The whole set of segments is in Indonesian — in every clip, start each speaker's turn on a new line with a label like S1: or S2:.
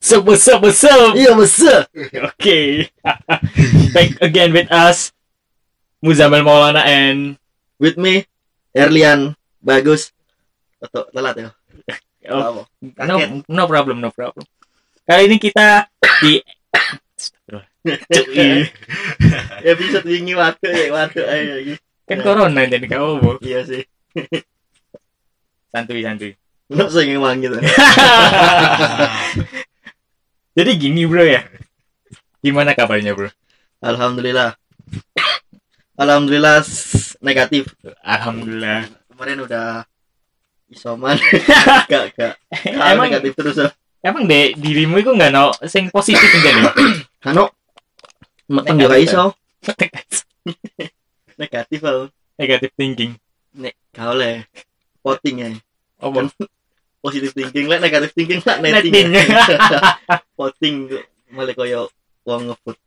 S1: What's up, what's up, what's up?
S2: Iya, masa.
S1: Okay. Back again with us, Muzamil Maulana and...
S2: With me, Erlian, bagus. Atau telat ya?
S1: Oh,
S2: Apa?
S1: no,
S2: Kaget.
S1: no problem, no problem. Kali ini kita di... Cuy,
S2: Episode ini waktu ya, waktu ayo lagi.
S1: kan corona jadi kamu, Bu.
S2: Iya sih.
S1: Santuy, santuy.
S2: Lo sering emang gitu.
S1: jadi gini, bro, ya. Gimana kabarnya, bro?
S2: Alhamdulillah. Alhamdulillah s- negatif.
S1: Alhamdulillah.
S2: Kemarin udah isoman. gak, gak. Kalau
S1: emang
S2: negatif terus ya.
S1: emang deh dirimu itu nggak no sing positif enggak nih?
S2: Kano, meteng juga
S1: Negatif, ah.
S2: iso. Negatif ah. kalau.
S1: Negative thinking.
S2: Nek, kau le. Voting ya.
S1: Oh,
S2: Kan Positive thinking lah, negative thinking lah, netting.
S1: Netting.
S2: Voting malah koyo wong ngebut.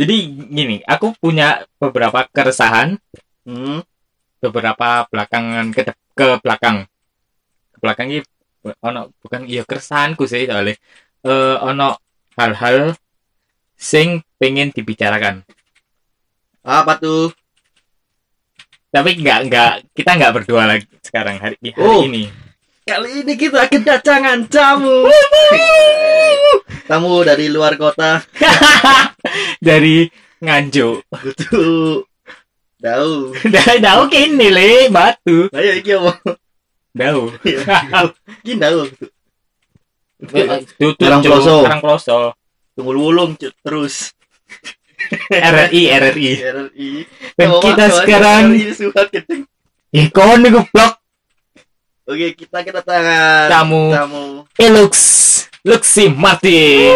S1: Jadi gini, aku punya beberapa keresahan,
S2: Hmm.
S1: beberapa belakangan ke, dep- ke belakang. Ke belakang ini bu- ono bukan iya keresahanku sih soalnya eh ono hal-hal sing pengen dibicarakan.
S2: Apa tuh?
S1: Tapi nggak nggak kita nggak berdua lagi sekarang hari, hari
S2: Oh.
S1: ini.
S2: Kali ini kita kedatangan tamu. Tamu dari luar kota.
S1: Dari Nganjuk.
S2: Kutu. Dau.
S1: Dau kini le batu.
S2: Ayo iki apa?
S1: Dau.
S2: Iki dau.
S1: Karang
S2: Karang Kloso.
S1: Karang Kloso.
S2: Tunggu wulung Cuk, terus.
S1: RRI RRI.
S2: RRI.
S1: Iya. Dan
S2: Bawa
S1: kita
S2: masuk aja,
S1: sekarang
S2: RRI surat kenceng.
S1: ikon nih goblok
S2: Oke, kita kedatangan
S1: Tamu.
S2: Tamu.
S1: Elux Luxi Martin.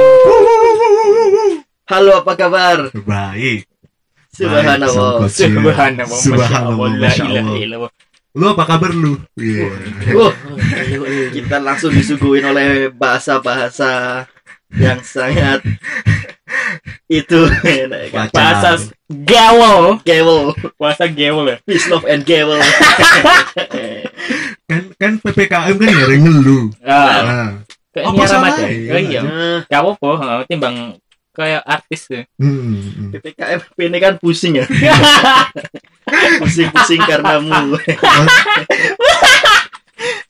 S2: Halo, apa kabar?
S3: Baik.
S2: Subhanallah.
S1: Subhanallah.
S3: Subhanallah, Masya Allah. Lu apa kabar lu? Iya.
S2: Wah, kita langsung disuguhin oleh bahasa-bahasa yang sangat itu enak.
S3: Wah.
S1: Bahasa gaul,
S2: Gavel,
S1: bahasa gaul ya.
S2: peace love and gavel.
S3: Kan kan PPKM kan ya ngelu.
S1: Ah,
S3: Ah.
S1: kayak
S3: Apa
S1: ini
S3: salah?
S1: Ramadhan.
S3: Iya.
S1: Oh iya.
S2: Ya.
S1: Gak apa-apa, heeh, timbang kayak artis ya. tuh.
S3: Hmm.
S2: PPKM ini kan pusing ya, pusing-pusing karenamu.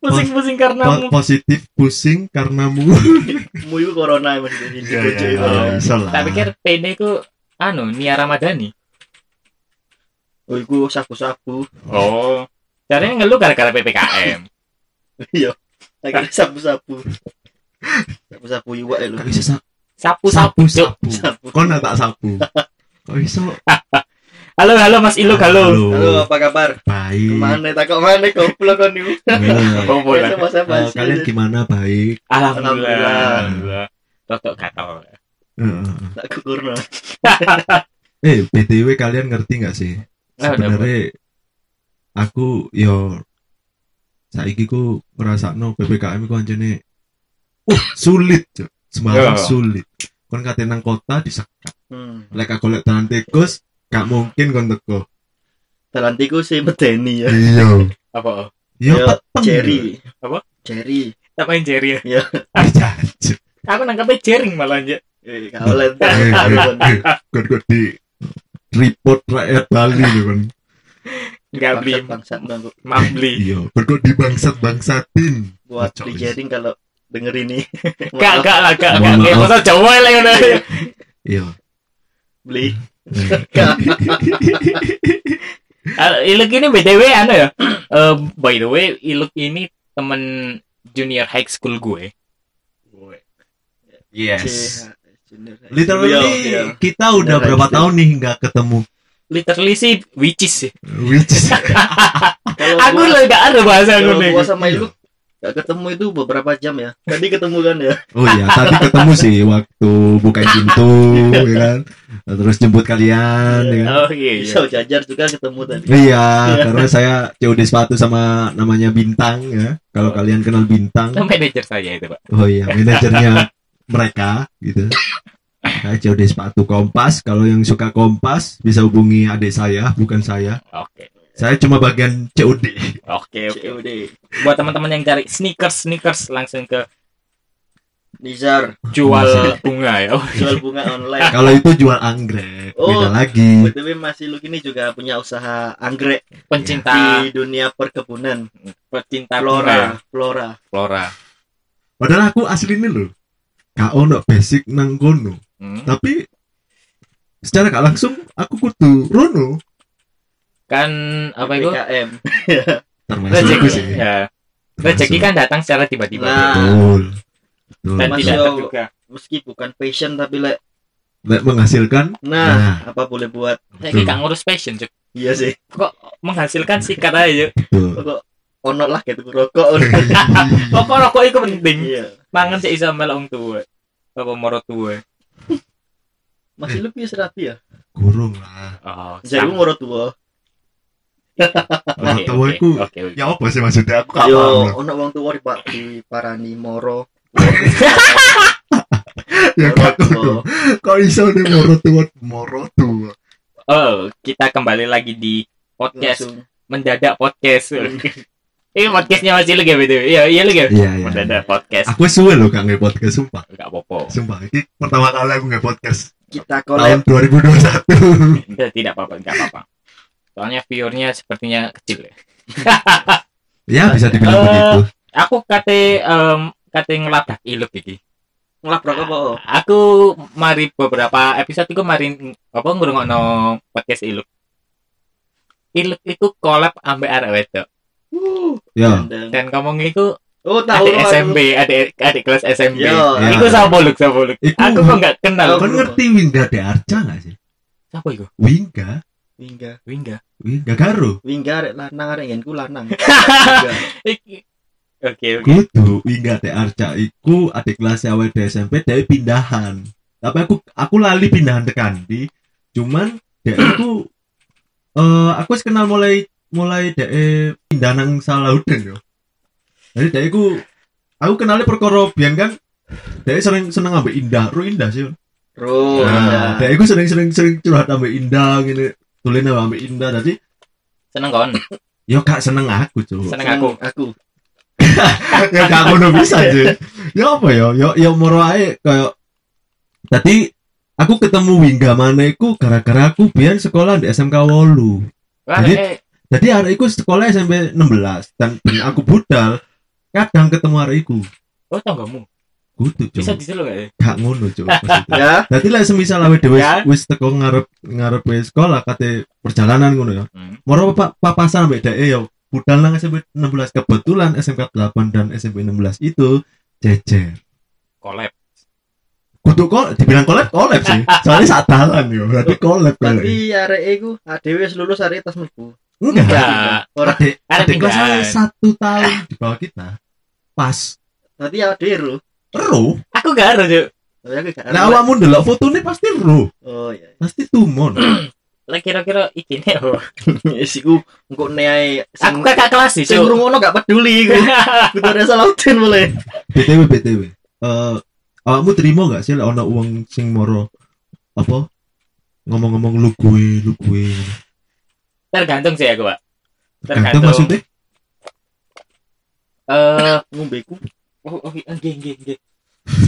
S1: Pusing-pusing karena
S3: Po-
S1: mu.
S3: positif pusing karena mu.
S2: Mu itu corona maksudnya. Di bojo itu.
S3: Ah, bisa lah.
S1: Tak
S2: kan
S1: pikir pene ku anu Nia Ramadhani.
S2: Oh, iku sabu-sabu.
S1: Oh. Caranya ngeluh gara-gara PPKM.
S2: Lagi sabu-sabu. Sabu-sabu iwak ya, lu.
S3: Kok iso sa-
S1: Sapu-sapu.
S3: sapu sapu.
S2: Sapu.
S3: Kok nak tak sapu? Kok iso?
S1: Halo, halo Mas Iluk, halo.
S2: Halo, apa kabar?
S3: Baik.
S2: Kemana takut mana goblok kan iku?
S3: Iya.
S1: Apa bola?
S3: Eh,
S2: Sama-sama
S3: kalian
S2: sih.
S3: gimana baik?
S1: Alhamdulillah.
S2: Alhamdulillah.
S1: Alhamdulillah. Toto gatal.
S3: Heeh.
S2: Tak kurna.
S3: Eh, BTW kalian ngerti nggak sih? Nah,
S1: Ah,
S3: Sebenarnya aku yo saiki ku ngrasakno PPKM ku anjene uh, sulit, Cuk. Semarang
S1: Yo.
S3: sulit. Kon kate nang kota disekat.
S2: Hmm.
S3: Lek gak golek tahan tikus, gak mungkin kon teko.
S2: Dalam tiku sih medeni ya.
S3: Iya.
S1: Apa?
S3: Yo
S2: Yo,
S3: peteng.
S2: Jerry.
S1: Apa?
S2: Jerry.
S1: Tak main jari ya.
S3: Eh, jancuk.
S1: Aku nangkepnya jaring malah aja.
S2: Eh, kau lihat.
S3: Eh, eh, eh, Kon kon di report rakyat Bali lho kon.
S1: Enggak beli.
S2: bangsat bang.
S1: Maaf beli.
S3: Iya, kon kon di bangsat-bangsatin.
S2: Buat
S3: Kacau,
S2: di
S3: wis.
S2: Jerry kalau denger ini.
S1: Gak,
S2: Maaf,
S1: gak lah, gak,
S3: Mohon
S1: gak. Kayak
S3: maaf.
S1: bahasa Jawa lah yang ada.
S3: Iya.
S2: beli.
S1: Ah, Iluk ini BTW anu ya. Eh, by the way, Iluk ini temen junior high school gue.
S3: Yes.
S2: Junior.
S3: Literally
S2: Iya, iya.
S3: kita udah
S2: Beneran
S3: berapa
S2: gitu.
S3: tahun nih nggak ketemu.
S1: Literally sih which is sih.
S3: Which is
S2: Kalau
S1: Aku
S2: gua-
S1: lah gak ada bahasa
S2: kalau
S1: gue nih.
S2: gua sama
S3: Iya.
S2: Ilu gak ketemu itu beberapa jam ya. Tadi ketemu kan ya.
S3: Oh iya, tadi ketemu sih waktu bukain pintu, ya kan? Terus jemput kalian, ya kan?
S1: Oh iya, iya.
S2: Bisa jajar juga ketemu tadi.
S3: Iya,
S2: Iya.
S3: karena saya COD sepatu sama namanya Bintang ya. Kalau kalian kenal Bintang,
S1: Itu manajer saya itu, Pak.
S3: oh iya, manajernya mereka gitu. Saya COD sepatu Kompas. Kalau yang suka Kompas bisa hubungi adik saya, bukan saya.
S1: Oke.
S3: Saya cuma bagian COD.
S1: Oke, oke.
S2: COD.
S1: Buat teman-teman yang cari sneakers, sneakers langsung ke
S2: Nizar
S1: jual bunga ya oh,
S2: jual bunga online.
S3: Kalau itu jual anggrek,
S2: Oh.
S3: beda lagi.
S2: BTW masih lu ini juga punya usaha anggrek
S1: pencinta
S2: di dunia perkebunan.
S1: pencinta bunga
S2: Flora, flora.
S1: flora
S3: Padahal aku aslinya loh. KO no basic nang kono.
S1: Hmm.
S3: Tapi secara gak langsung aku kudu rono
S1: kan apa itu
S2: PKM.
S3: termasuk
S1: rezeki
S3: aku sih.
S1: ya rezeki kan datang secara tiba-tiba
S2: Nah.
S3: Betul. Betul.
S1: dan
S2: Masuk.
S1: tidak terduga
S2: Meski bukan passion tapi lek.
S3: Lek menghasilkan Nah.
S2: Nah, apa boleh buat?
S1: saya gak ngurus passion Cuk.
S2: Iya sih.
S1: menghasilkan sikat aja Cuk.
S3: betul.
S2: Kok ono lah gitu rokok. ono.
S1: pokok rokok itu penting
S2: Iya.
S1: mangan sih iso melok wong tuwa apa moro tuwa
S2: Masih lu piye rapi ya?
S3: Kurung lah.
S1: oh
S2: Jadi
S1: sama.
S2: mau tua.
S1: Oke,
S3: Orang tua
S1: oke,
S3: iku.
S1: oke, oke.
S3: Ya apa sih maksudnya aku gak paham
S2: Yo,
S3: lah.
S2: ono wong tua di Pak di Parani Moro.
S3: Ya
S2: Moro
S3: gak
S2: tua.
S3: tahu. Kok iso nih moro tua moro tua.
S1: oh kita kembali lagi di podcast
S2: Langsung.
S1: mendadak podcast ini podcastnya masih lagi gitu iya iya Ah. lagi
S3: Iya iya.
S1: mendadak podcast
S3: Aku suwe loh gak nge-podcast sumpah.
S1: gak apa-apa
S3: Sumpah, ini pertama kali aku nge-podcast
S2: Kita collab.
S3: tahun 2021.
S1: Tidak, tidak apa-apa gak apa-apa soalnya viewernya sepertinya kecil ya
S3: Ya bisa dibilang
S1: Eh,
S3: begitu.
S1: aku kate em kate ngeladak iluk iki
S2: Ngelabrak apa? oh?
S1: aku mari beberapa episode iku mari apa ngrungokno podcast iluk iluk itu collab ambek arek wedok
S2: Wuh,
S3: Ya,
S2: dan-
S1: dan ngomong iku
S2: Oh, tahu
S1: adik
S2: aku.
S1: SMP adik adik kelas SMP
S2: Yo, iya.
S3: Ya.
S1: iku sapa luk sapa luk
S3: Iku-
S1: aku kok gak
S2: Aku
S1: kenal
S3: kan
S2: dulu.
S3: ngerti Wingga de Arca nggak sih?
S1: sapa iku
S3: Wingga,
S2: Wingga.
S1: Wingga
S3: Wingga Garo,
S2: Wingga arek lanang arek ngenku lanang. Wingga.
S1: Iki- oke oke
S3: gitu. Wingga de Arca, iku adik kelas awal di SMP dari pindahan. Tapi aku aku lali pindahan tekan di, cuman dia itu eh aku wis kenal mulai mulai dari pindah nang Salahuddin yo. Jadi dia iku aku kenalnya perkara biyen kan dia sering seneng ambil indah, ru indah sih.
S2: Bro,
S3: Nah,
S2: Wingga.
S3: dia itu sering-sering sering curhat sama Indah gini. Tulen sama Indah tadi.
S1: seneng kon
S3: Yo kak seneng aku cuy.
S1: seneng aku
S2: Aku.
S3: ya gak ngono bisa cuy. Ya apa yo yo yo moro ae kayak tadi aku ketemu Wingga mana iku gara-gara aku biyen sekolah di SMK Wolu.
S1: wah
S3: Jadi-
S1: eh,
S3: Jadi hari iku sekolah SMP 16 dan ben aku budal kadang ketemu hari iku.
S1: oh tanggamu
S3: Kudu
S1: bisa
S3: cuy.
S1: diseluk gak ya
S3: Gak ngono cuy. maksudnya.
S2: Ya,
S3: Dadi lah semisal awake dhewe
S1: Ya.
S3: wis teko ngarep ngarep sekolah kate perjalanan ngono ya.
S1: Hmm.
S3: Moro pak papasan beda eh yo. Budal nang SMP 16 kebetulan SMK 8 dan SMP 16 itu jejer.
S1: collab
S3: Kudu kol dibilang kolab kolab sih. Soalnya saat dalan yo. Berarti kolab kali.
S2: tapi arek iku adewe wis lulus arek tas mlebu.
S3: Enggak.
S1: Enggak.
S2: Ora
S3: Adik,
S1: Ada
S3: adik kelas
S1: pindahan.
S3: saya satu tahun di bawah kita. Pas
S2: nanti adewe ro.
S3: ero.
S1: aku gak harus Cuk.
S2: Tapi aku gak
S3: Nah
S2: ngerti.
S3: awakmu ndelok fotone pasti ero.
S2: Oh iya.
S3: Pasti tumon.
S1: lah kira-kira ikine apa?
S2: Siku engko neae
S1: aku
S2: sing
S1: kakak kelas sih
S2: sing
S1: Cuk.
S2: ngrungono gak peduli iku. Kudu salah utin boleh.
S3: BTW BTW. Eh awakmu terima gak sih lek ana uang sing moro apa ngomong-ngomong lu gue lu gue
S1: tergantung sih aku pak
S3: tergantung maksudnya
S1: eh
S2: Ngombeku.
S1: oh oh iya nggih nggih nggih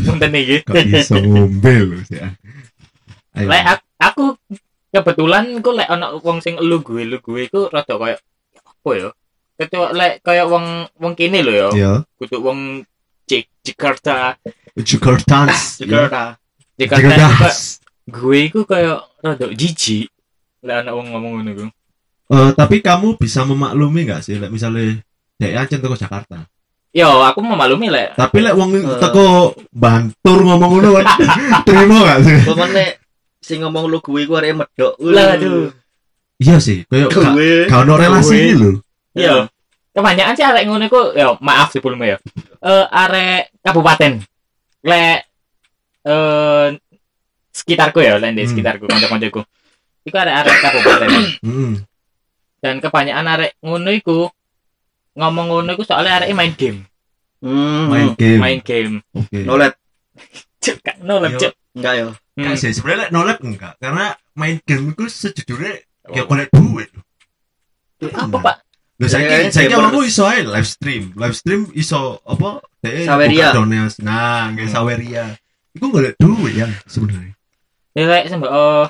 S1: punten iki
S3: gak bisa ngombe lho sih ah. ayo
S1: lek ak- aku kebetulan ku lek ana wong sing lu gue lu gue ku rada koyo apa ya ketua lek koyo wong wong kini lho ya
S3: ya
S1: kudu wong Cek Jakarta
S3: Jakarta
S2: Jakarta.
S1: Jakarta
S3: Jakarta
S1: itu kok gue ku koyo rada jijik lek ana wong ngomong ngono ku
S3: Eh, tapi kamu bisa memaklumi gak sih lek misalnya Dek Aceh teko Jakarta.
S1: yo aku memaklumi lek
S3: Tapi lek wong
S2: Eh.
S3: teko Bantur ngomong ngono kan terima gak sih?
S2: Pemane sing ngomong lu gue ku arek medok.
S1: Lah, aduh.
S3: Iya sih, koyo gak
S2: Gue.
S3: gak ono relasi gitu.
S1: Gue.
S3: iki lho.
S1: yo Iya. kebanyakan sih arek ngono ku yo maaf sebelumnya ya eh arek kabupaten lek eh sekitarku ya lek di
S3: Hmm.
S1: sekitarku kanca-kancaku iku arek-arek kabupaten
S3: Heeh.
S1: dan kebanyakan arek ngono iku ngomong ngono iku soalnya arek main game
S2: Hmm.
S3: Main game.
S1: main game
S3: Oke.
S2: Nolet.
S1: cek kak no lah
S3: Yo.
S1: cek
S2: Enggak yo.
S1: Hmm.
S3: Enggak sih, sebenarnya like, no lab enggak
S2: Oh.
S3: karena main game itu sejujurnya ya golek duit.
S1: apa pak
S2: Kayaknya
S3: Lho saiki saiki
S2: gamer.
S3: awakku iso ae live stream. Live stream iso apa? Dek
S2: Saweria.
S3: Dones. Nah, nggih
S1: Hmm.
S3: Saweria. Iku golek duit ya sebenarnya.
S1: Ya lek sampe oh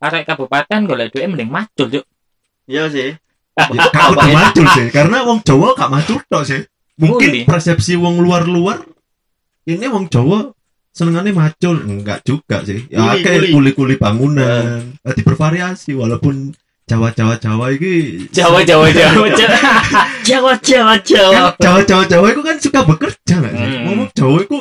S1: arek kabupaten golek duit mending macul yuk.
S2: Iya sih.
S3: Ya, gak kudu
S2: Apanya?
S3: macul sih, karena wong Jawa gak macul tok sih.
S1: Mundi.
S3: Mungkin persepsi wong luar-luar ini wong Jawa senengannya macul enggak juga sih ya
S2: Kuli,
S3: kayak
S2: kuli.
S3: kuli-kuli bangunan Berarti bervariasi walaupun Jawa-Jawa Jawa iki
S1: Jawa Jawa Jawa. Jawa.
S2: Jawa Jawa
S3: kan
S2: Jawa.
S3: Jawa-Jawa Jawa itu kan suka bekerja nggak sih?
S1: Hmm.
S3: Ngomong Jawa itu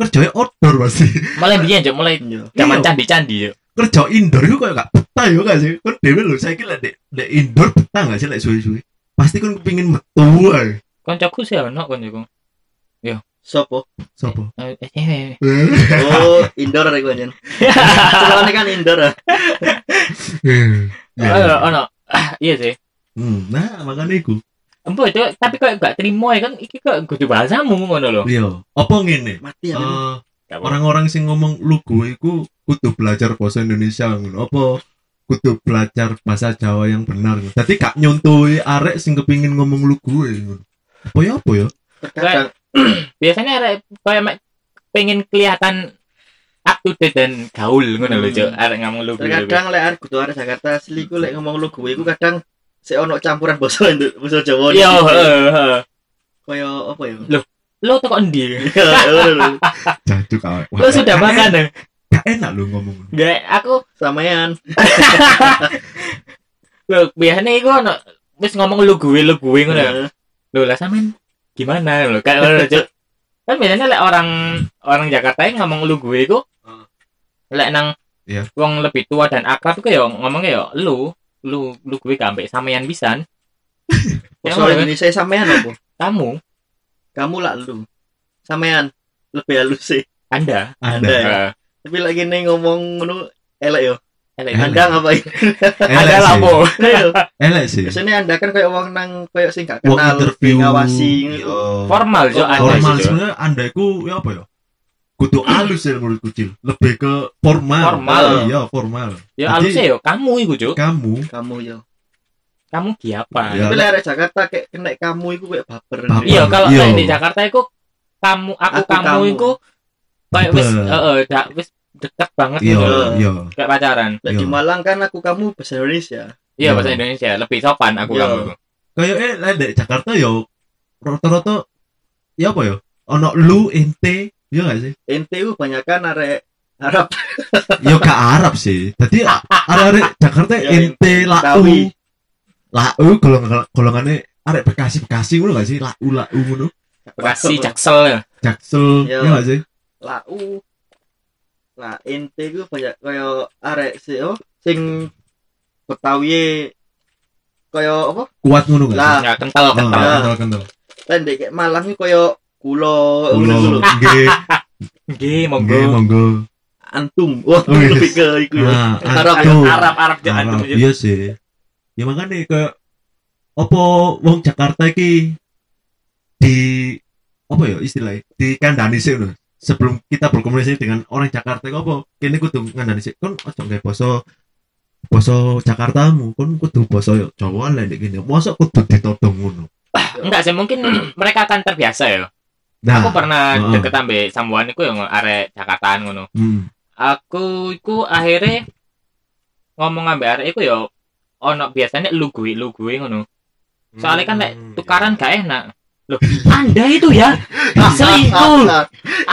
S3: kerjanya outdoor pasti.
S1: mulai biyen yuk mulai
S2: Iya.
S1: zaman
S3: Iya.
S1: candi-candi yuk.
S3: Kerja indoor itu kayak gak betah ya nggak sih? Kan dewe lho saya kira dek dek indoor betah nggak sih lek suwe-suwe. Pasti kan kepingin metu ae.
S1: Koncoku sih ono koncoku.
S2: Sopo.
S3: Sopo?
S1: Eh, eh, eh, eh.
S2: Oh, indoor arek gue jen. Soalnya kan indoor. ah.
S1: Ono ono. Ah, Iya sih.
S3: Hmm, nah makanya iku.
S1: Empo itu tapi kok gak terima ya kan iki kok kudu bahasamu ngono lho.
S3: Iya, apa ngene?
S2: Mati
S1: Iya,
S2: ya. memang.
S3: Eh,
S1: Gak apa.
S3: orang-orang sing ngomong lugu iku kudu belajar bahasa Indonesia ngono. Apa kudu belajar bahasa Jawa yang benar. Dadi gak nyontoi arek sing kepingin ngomong lugu ae ngono. Apa ya apa ya?
S2: Terkadang
S1: biasanya arek kayak mek pengen kelihatan up to date dan gaul ngono lho
S2: Hmm.
S1: Cuk. arek ngomong lu
S2: terkadang lek arek kudu arek Jakarta asli ku lek ngomong lu gue ku kadang sik ono campuran basa Indo- basa Jawa. Iya.
S1: Yo,
S2: Koyo
S1: Iya, heeh, heeh.
S2: apa ya?
S1: lo toko endi?
S2: Iya, ngono lho.
S3: Jancuk awak.
S1: Lo sudah makan ya?
S3: Gak enak lu ngomong.
S1: Gak, aku
S2: Sampean.
S1: lo biasanya iku ono wis ngomong lu gue lu gue ngono. ya.
S2: Eh,
S1: Lo lah sampean gimana lo? Kayak ngono Cuk. Kan biasanya lek orang orang Jakarta yang ngomong lu gue iku
S3: Heeh.
S1: lek nang
S3: Iya.
S1: wong lebih tua dan akrab iku ya ngomongnya ya lu lu lu gue sampai sampean pisan. Ya,
S3: Oh,
S2: Basa
S1: ngono kan.
S2: Indonesia sampean apa?
S1: Kamu,
S2: Kamu lah lu. Sampean lebih halus sih.
S1: Anda.
S2: Anda
S3: Ada.
S2: ya.
S1: Heeh.
S2: Tapi lek ngene ngomong ngono elek yo.
S1: Elek.
S3: Elek.
S2: Anda ngapain?
S1: gitu. Anda
S3: sih.
S1: lapo.
S2: Elek Nah, yo.
S3: Elek sih.
S2: Biasanya Anda kan kayak wong nang kayak sing gak
S3: Wong
S2: kenal
S3: interview
S2: ngawasi gitu.
S3: Iya.
S1: oh. Formal yo
S2: Formal.
S1: Anda. gitu.
S3: Formal
S1: sih, Cuk.
S3: sebenarnya Anda iku ya apa ya? Kudu halus ya menurut kucil. Lebih ke formal.
S1: Formal.
S3: Iya, formal.
S1: Ya
S3: Jadi-
S1: alusnya yo kamu iku, Cuk.
S3: Kamu
S2: Kamu yo.
S1: Kamu kiapa?
S3: Ya,
S2: Tapi lek arek Jakarta kayak kena kamu iku kayak baper.
S3: Baper.
S1: Iya, kalau
S3: Iya.
S1: kayak di Jakarta itu kamu aku,
S2: Aku,
S1: kamu,
S2: kamu.
S1: iku kayak wis
S3: Bener.
S1: heeh, dak wis deket banget
S3: iya,
S1: gitu.
S2: Iya.
S3: iya.
S1: Kayak pacaran.
S2: Lek di
S3: Yo.
S2: Malang kan aku kamu bahasa Indonesia.
S1: Iya,
S3: Iya.
S1: bahasa Indonesia lebih sopan aku
S2: Iya.
S1: kamu.
S3: Kayak eh lah dari Jakarta yo rata-rata ya apa ya? Ono lu ente ya gak sih?
S2: Ente ku banyakan arek Arab.
S3: Yo ke Arab sih. Tadi arek-arek Jakarta
S2: Yo,
S3: ente lau.
S2: Tawi.
S3: Lau golongan golongannya arek Bekasi-Bekasi ngono gak sih? Lau lau ngono.
S1: Bekasi Jaksel ya.
S3: Jaksel
S2: Yo.
S3: ya gak sih?
S2: Lau. Lah ente ku banyak kayak arek si oh, sing Betawi kayak apa?
S3: Kuat ngono gak sih?
S2: Lah,
S1: Ya kental
S3: Oh,
S1: kental.
S2: Iya.
S3: kental kental.
S2: Lek ndek kayak Malang ku kayak kulo
S3: Kulo.
S2: ngono lho.
S3: Nggih,
S1: Nggih,
S3: nggih,
S1: monggo.
S3: Iya, monggo.
S2: Antum. Wah,
S3: Oh, iya.
S2: lebih ke iku ya.
S3: Nah,
S2: Arab,
S3: antum.
S1: Arab Arab jangan
S3: Arab,
S1: dulu.
S3: iya sih. Ya makanya kayak opo wong Jakarta iki di apa ya istilahnya di kandani sih lho. Sebelum kita berkomunikasi dengan orang Jakarta iku apa kene kudu ngandani sih. Kon aja gawe basa basa Jakartamu, kon kudu ya basa yo Jawa lah nek kene. Mosok kudu ditodong ngono.
S1: Enggak sih, mungkin mereka akan terbiasa ya.
S3: Nah,
S1: Aku pernah
S3: Heeh.
S1: deket ambek sambuan iku yang arek Jakartaan ngono.
S3: hmm,
S1: aku iku akhirnya ngomong ambek arek iku ya ono biasanya lu gue lu gue ngono soalnya kan lek
S3: Hmm,
S1: tukaran gak enak loh anda itu ya selingkuh
S2: Ah, ah, ah.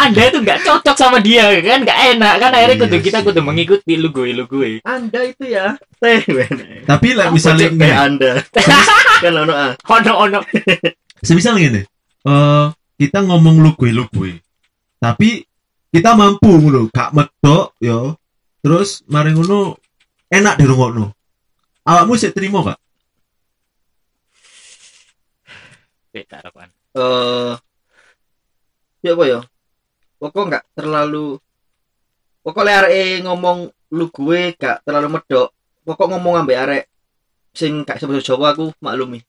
S1: anda itu gak cocok sama dia kan gak enak kan akhirnya kudu
S3: Iya
S1: kita
S3: sih.
S1: kudu mengikuti lu gue lu gue
S2: Anda itu ya. Teh. men.
S3: tapi lah
S2: Apa
S3: misalnya
S2: cek
S3: ngene,
S2: kayak Anda. kan ono ah.
S1: ono ono
S3: semisal gini eh kita ngomong lu gue lu gue tapi kita mampu ngono gak medok yo terus mari ngono enak dirungokno awakmu sik terima gak
S1: Eh, tak lakukan.
S2: eh ya apa ya pokok nggak terlalu pokok le arek e ngomong lu gue gak terlalu medok pokok ngomong ambek arek sing gak sebut Jawa aku maklumi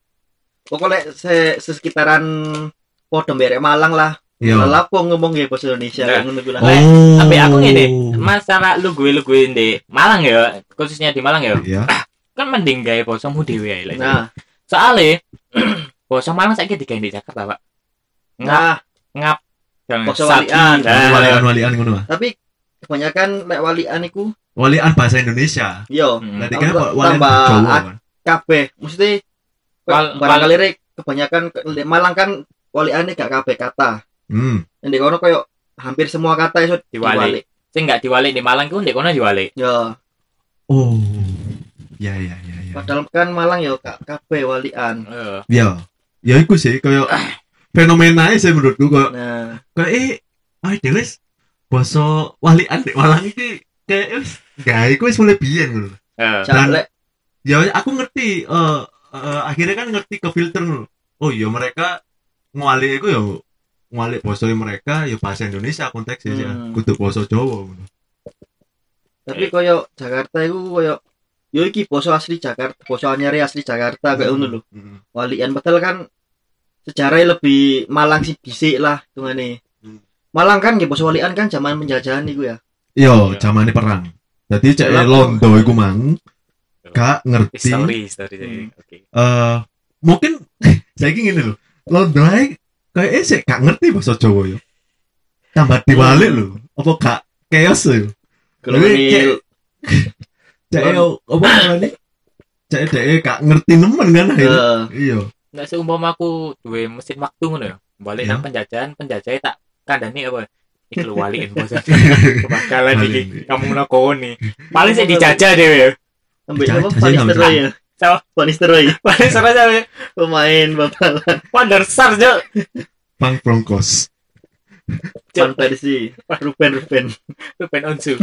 S2: pokok le se sesekitaran podo mbek arek Malang lah
S3: yo
S2: lah lapo ngomong ya bahasa Indonesia
S1: Nah.
S2: ngono kuwi lah
S1: Oh. ambek aku ngene masalah lu gue lu gue di Malang ya khususnya di Malang ya
S3: ya
S1: kan mending gawe bosomu dhewe ae lah
S2: nah
S1: soalnya bosok Malang saya digawe di Jakarta pak ngap
S2: Nah,
S1: ngap jangan
S2: Basa
S1: sapi
S2: walian.
S1: Nah,
S3: walian walian ngono ah.
S2: tapi kebanyakan lek walian iku
S3: walian bahasa Indonesia
S2: yo
S1: Hmm.
S3: berarti kan
S2: Tambah-
S3: walian
S2: tambah
S3: Jawa
S2: ak-
S3: kan?
S2: kabeh mesti
S1: Wal-
S2: barangkali rek kebanyakan ke- Malang kan waliane gak kabeh kata.
S3: hmm
S2: Ndek kono koyo hampir semua kata iso
S1: Diwalik.
S2: diwalik. Ya,
S1: sing nggak diwalik di Malang ku ndek kono diwalik
S2: Yo,
S3: oh ya ya ya ya
S2: padahal kan Malang yo gak kabeh walian.
S1: Eh,
S3: ya ya iku sih kayak fenomena sih menurutku kayak
S2: Nah,
S3: kayak eh ah Delis bahasa walian di Malang iki kayak eh, wis gak Ya, iku wis mulai biyen ngono
S1: eh.
S3: Dan-
S2: jalek
S3: ya aku ngerti eh eh, akhirnya kan ngerti ke filter ngono. oh ya mereka ngwali itu ya ngwali bahasa mereka ya bahasa Indonesia konteksnya ya
S2: Hmm.
S3: kudu bahasa Jawa ngono.
S2: tapi
S3: Eh.
S2: koyo Jakarta iku koyo yo iki basa asli Jakarta, basa anyar asli Jakarta kayak ngono lho.
S3: Hmm.
S2: Walian padahal kan sejarahnya lebih Malang sih bisik lah hitungane.
S3: Hmm.
S2: Malang kan nggih basa walian kan zaman penjajahan iku ya.
S3: yo Iya, zamane perang jadi cek
S2: Lah, iya.
S3: Londo iku mang gak ngerti eh
S1: history history
S2: Hmm.
S1: oke
S3: mungkin saya gini loh Londo ae kayaknya sih gak ngerti bahasa Jawa yo tambah diwalik lho apa gak chaos yo
S2: Kalau
S3: Jadi,
S2: ini eh,
S3: kayak- cek yo apa namanya cek dek gak ngerti nemen kan akhirnya
S2: eh,
S3: Iya.
S1: nggak seumpama aku duwe mesin waktu ngono ya balik
S3: Iya.
S1: nang penjajahan penjajahnya tak kandani apa iki lu waliin bos kebakalan iki
S3: Waliin.
S1: kamu nakoni paling sih dijajah deh ya
S2: Ambil
S3: Jajan-
S2: apa?
S3: jajan
S2: Van
S3: sama
S2: Nistelrooy ya?
S1: Siapa?
S2: Van Nistelrooy.
S1: paling seru aja ya
S2: Pemain bakal
S1: Wonder Sar jo
S3: Pang Broncos.
S2: Van Persie. Ruben Ruben.
S1: Ruben Onsu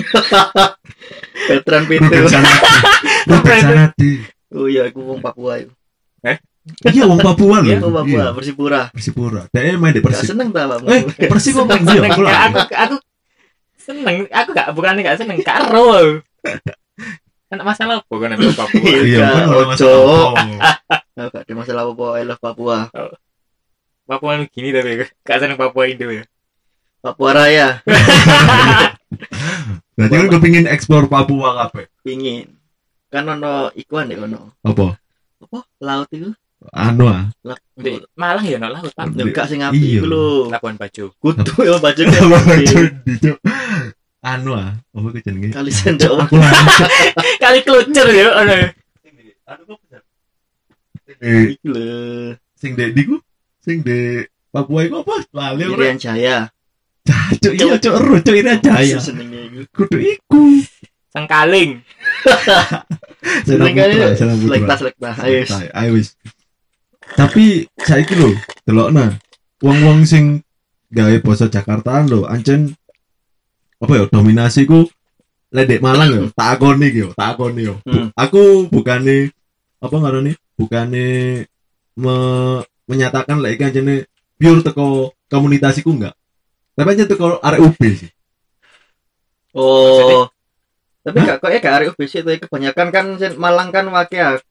S2: Veteran
S3: Ruben
S2: Pitu.
S3: Sanadi. Ruben Sanadi.
S2: Oh iya, aku wong Papua iku.
S3: Iya, wong Papua
S2: Iya,
S3: loh.
S2: wong Papua, Persipura.
S3: Persipura. Dia main di
S2: Gak
S3: Persib.
S2: seneng ta, Pak?
S3: Eh, Persib Iya, kok main dia?
S1: seneng
S3: Aku
S1: Nggak,
S3: lah.
S1: aku aku seneng aku gak bukan gak seneng karo kan masalah apa kan ambil Papua
S3: Iya,
S2: Iya,
S3: kan
S2: ojo.
S3: orang masuk.
S2: Nah, Gak ada masalah apa-apa, I love Papua.
S1: Papua gini tapi gak seneng Papua Indo ya
S2: Papua Raya
S3: Berarti kan kepingin eksplor Papua kape.
S2: pingin. Kan ono ikuan deh ono.
S3: Apa?
S2: Apa? Laut iku.
S3: Anu ah.
S1: Di Malang ya no laut Pak.
S2: Nyuka sing api
S3: Iya.
S2: iku lho.
S1: Labuan Bajo
S2: Kutu ya baju
S3: Jondi, Cok. Iya, Anu ah. Apa itu jenenge?
S2: Kali sendok.
S3: Aku lah.
S1: kali kelucer ya ono ya.
S2: Anu
S3: Eh,
S2: Iku lho.
S3: Sing di di ku? Sing di Papua itu apa? Lali orang.
S2: Irian Jaya.
S3: Cacuk iya cok ero, cok ini aja ya.
S2: Senengnya iku.
S3: Kudu iku.
S1: Sengkaling
S2: Seneng
S3: Senang
S2: kali.
S3: putra, senang putra.
S2: Selekta selekta. Ayo.
S3: Tai, ayo wis. Tapi saiki lho, delokna. Wong-wong sing gawe basa Jakartaan lho, ancen apa ya dominasi ku ledek Malang ya, tak akoni iki yo, tak akoni yo. Bu- Aku bukane apa ngarani? Bukane me, menyatakan lek iki ancene pure teko komunitasiku enggak. Tapi aja teko arek UB sih.
S2: Oh. Tapi gak kok ya gak arek UBC itu kebanyakan kan sen- Malang kan wakil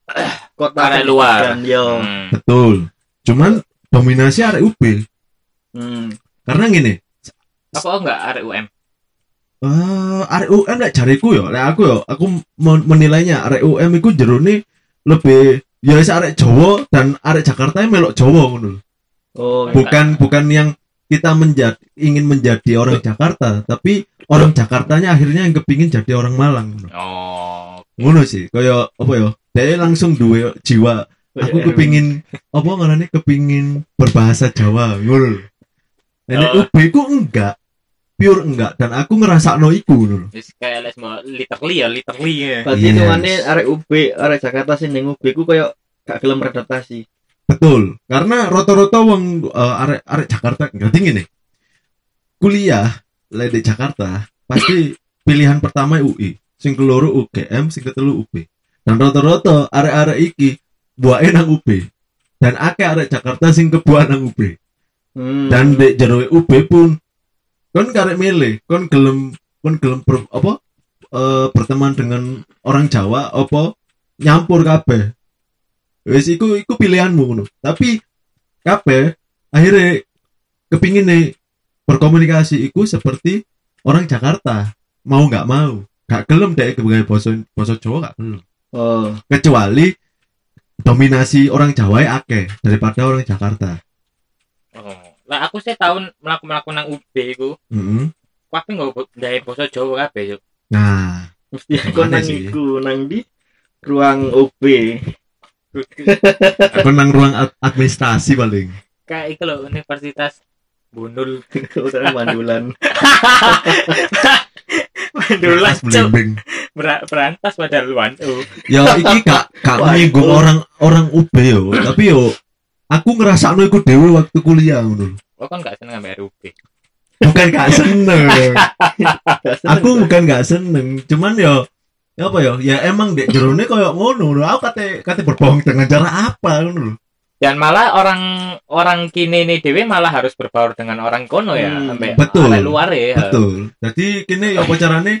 S2: kota
S1: Arek
S2: kan,
S1: luar.
S2: kan, Yo.
S1: Hmm.
S3: Betul. Cuman dominasi arek UB
S2: Hmm.
S3: karena gini,
S1: apa enggak arek UM
S3: Ah, arek UM lek jariku yo, lek aku yo, aku men- menilainya arek UM iku jerone lebih ya wis arek Jawa dan arek Jakarta yang melok Jawa ngono lho.
S2: Oh.
S1: Bu-
S3: Bukan bukan yang kita menjadi ingin menjadi orang Jakarta, tapi orang Jakartanya akhirnya yang kepingin jadi orang Malang ngono.
S1: oh
S3: Ngono sih, kaya apa yo? Dia langsung duwe jiwa.
S2: iya,
S3: Aku kepingin apa ngarane kepingin berbahasa Jawa ngono lho. Nenek
S1: Oh.
S3: UB ku enggak pure enggak dan aku ngerasa no iku ngono lho.
S1: Terus kayak les mau literally ya literally ya
S2: Berarti
S3: Yes.
S2: itu arek UB, arek Jakarta sih ning UB ku koyo gak gelem beradaptasi.
S3: Betul, karena rata-rata wong eh, arek arek Jakarta ngerti ngene. Kuliah lek di Jakarta pasti pilihan pertama UI, sing keloro UGM, sing ketelu UB. Dan rata-rata arek-arek iki buake nang UB. Dan akeh arek Jakarta sing kebuan nang UB.
S2: Hmm.
S3: Dan di jero UB pun kon karek milih, kon gelem kon gelem ber- apa eh, berteman dengan orang Jawa apa nyampur kabeh. Wis iku iku pilihanmu ngono. Tapi kabeh akhirnya kepingin nih berkomunikasi iku seperti orang Jakarta mau nggak mau gak gelem deh sebagai bosok bosok Jawa gak gelem
S2: oh.
S3: kecuali dominasi orang Jawa ya akeh daripada orang Jakarta.
S1: Oh. Lah aku sih tahun melaku-melaku nang UB iku,
S3: Mm-mm.
S1: tapi nggak dari basa Jawa kabeh yo.
S3: Nah,
S1: Mesti
S2: Aku
S3: Mana
S2: nang
S3: sih?
S2: iku nang di ruang OB.
S3: aku nang ruang ad- administrasi paling.
S1: kayak iku lho Universitas Bunul.
S2: Utara mandulan.
S1: Mandulan
S3: Atas
S1: Cuk.
S3: belimbing.
S1: Ber- berantas pada luan. Oh.
S3: Ya iki gak gak
S2: Waduh.
S3: menyinggung orang orang UB yo, tapi yo aku ngerasa iku dhewe waktu kuliah ngono.
S1: Kok kan gak seneng ambek RUB.
S3: Bukan gak seneng.
S2: Gak seneng,
S3: aku
S2: Bang.
S3: bukan gak seneng cuman yo ya apa yo ya emang dek jerone koyo ngono lho aku kate kate berbohong dengan cara apa ngono lho
S1: Dan malah orang orang kini ini dewe malah harus berbaur dengan orang kono ya,
S2: Hmm,
S1: sampai
S3: betul.
S1: sampai luar ya.
S3: betul jadi kini yo apa carane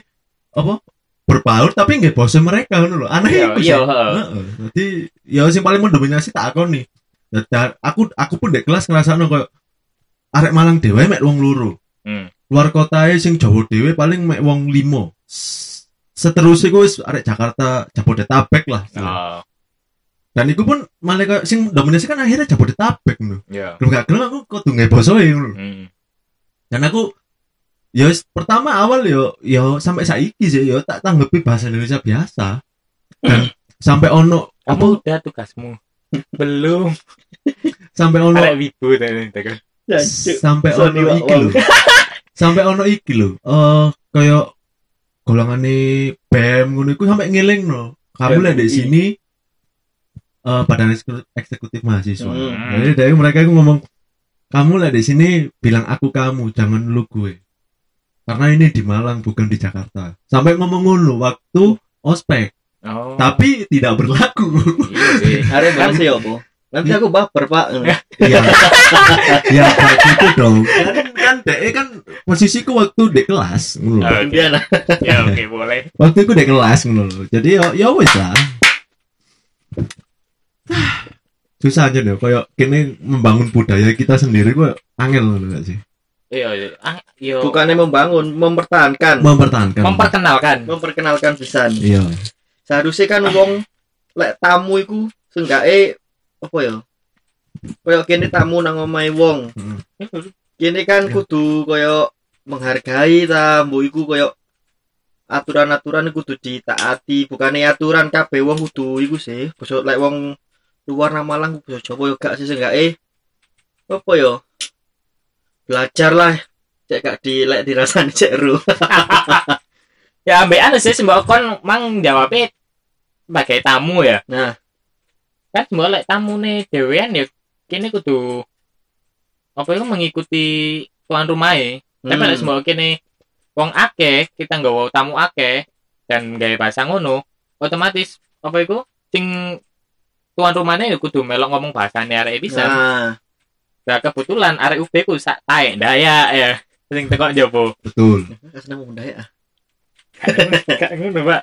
S3: apa berbaur tapi nggak bosen mereka ngono lho aneh
S1: Iya,
S3: iku
S1: iya,
S3: sih.
S1: heeh.
S3: Heeh. jadi ya sing paling mendominasi tak aku nih Dan aku aku pun dek kelas ngrasakno koyo arek Malang dhewe mek wong loro
S1: Hmm.
S3: luar kotae sing Jawa dhewe paling mek wong limo S- seterusnya gue arek Jakarta Jabodetabek lah
S1: Oh,
S3: dan itu pun malah kayak sing dominasi kan akhirnya jabodetabek no
S1: iya.
S3: gelem gak gelem aku kudu nggak bosoi no
S1: Hmm.
S3: dan aku ya wis, pertama awal yo yo sampai saiki sih yo tak tanggapi bahasa Indonesia biasa dan sampai ono apa
S1: Hmm. Kamu udah tugasmu. Belum.
S3: sampai ono
S1: Arek wibu tadi tadi.
S2: Jancuk.
S3: sampai ono
S2: Sorry, Wak,
S3: iki
S2: Wak.
S3: lho sampai ono iki lho eh kayak golongane BEM ngono iku sampai ngeling no kamu lah
S2: BMI.
S3: di sini eh badan eksekutif, eksekutif mahasiswa
S2: iya. Hmm.
S3: jadi dari mereka itu ngomong kamu lah di sini bilang aku kamu jangan lu gue karena ini di Malang bukan di Jakarta sampai ngomong ngono waktu ospek
S1: Oh.
S3: tapi tidak berlaku
S1: iya sih.
S2: Arek bahasa ya apa? Nanti aku baper, Pak.
S3: Iya. ya kayak gitu dong. Kan kan DE kan posisiku waktu di kelas ngono lho.
S1: Oke.
S2: Kemudian
S1: Ya oke boleh.
S3: Waktu itu di kelas ngono lho. Jadi ya ya wis lah. Hah, Susah aja deh, kayak kini membangun budaya kita sendiri kok angel ngono gak sih?
S1: Iya, iya. Ah, iya.
S2: bukannya membangun, mempertahankan,
S3: Mempertahankan.
S1: Memperkenalkan.
S2: memperkenalkan pisan.
S3: Iya.
S2: seharusnya kan wong lek tamu iku seenggake apa ya kaya kene tamu nang omahe wong kene kan
S3: Ya.
S2: kudu kaya menghargai tamu iku kaya aturan-aturan kudu ditaati bukannya aturan kabeh wong kudu iku sih basa lek wong luar nang Malang basa Jawa yo gak sih seenggake apa ya belajar lah cek gak di lek dirasani cek ru
S1: Ya ambek anu sih sembako kon mang jawabnya pakai tamu ya.
S2: Nah.
S1: Kan sembako lek tamune dhewean ya kene kudu apa itu mengikuti tuan rumahe.
S2: hmm.
S1: Tapi lek sembako kene wong akeh, kita nggawa tamu akeh dan gawe bahasa ngono, otomatis apa iku sing tuan rumahnya ya kudu melok ngomong bahasane arek bisa.
S2: nah
S1: Nah, kebetulan arek UB ku sak taek ndaya ya. Sing tekok jopo.
S3: Betul.
S2: kasih nama ya
S1: Kak ngono, Pak.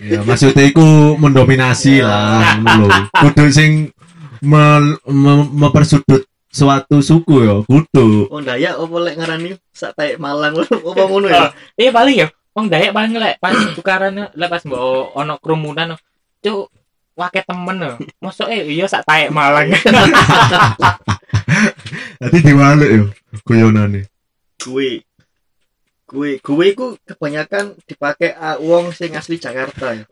S3: Ya maksudnya iku mendominasi
S2: Ya.
S3: lah ngono lho. Kudu sing mel- mem- mempersudut suatu suku ya, kudu.
S2: Oh Dayak apa lek ngarani sak taek Malang apa ngono ya?
S1: Iya paling ya. Wong Dayak paling lek pas tukaran lek pas mbok ono kerumunan cuk wake temen lho. Mosok eh iya sak taek Malang.
S3: Nanti diwalik ya, yo guyonane.
S2: Gue gue gue ku kebanyakan dipakai ah, wong sing asli Jakarta ya.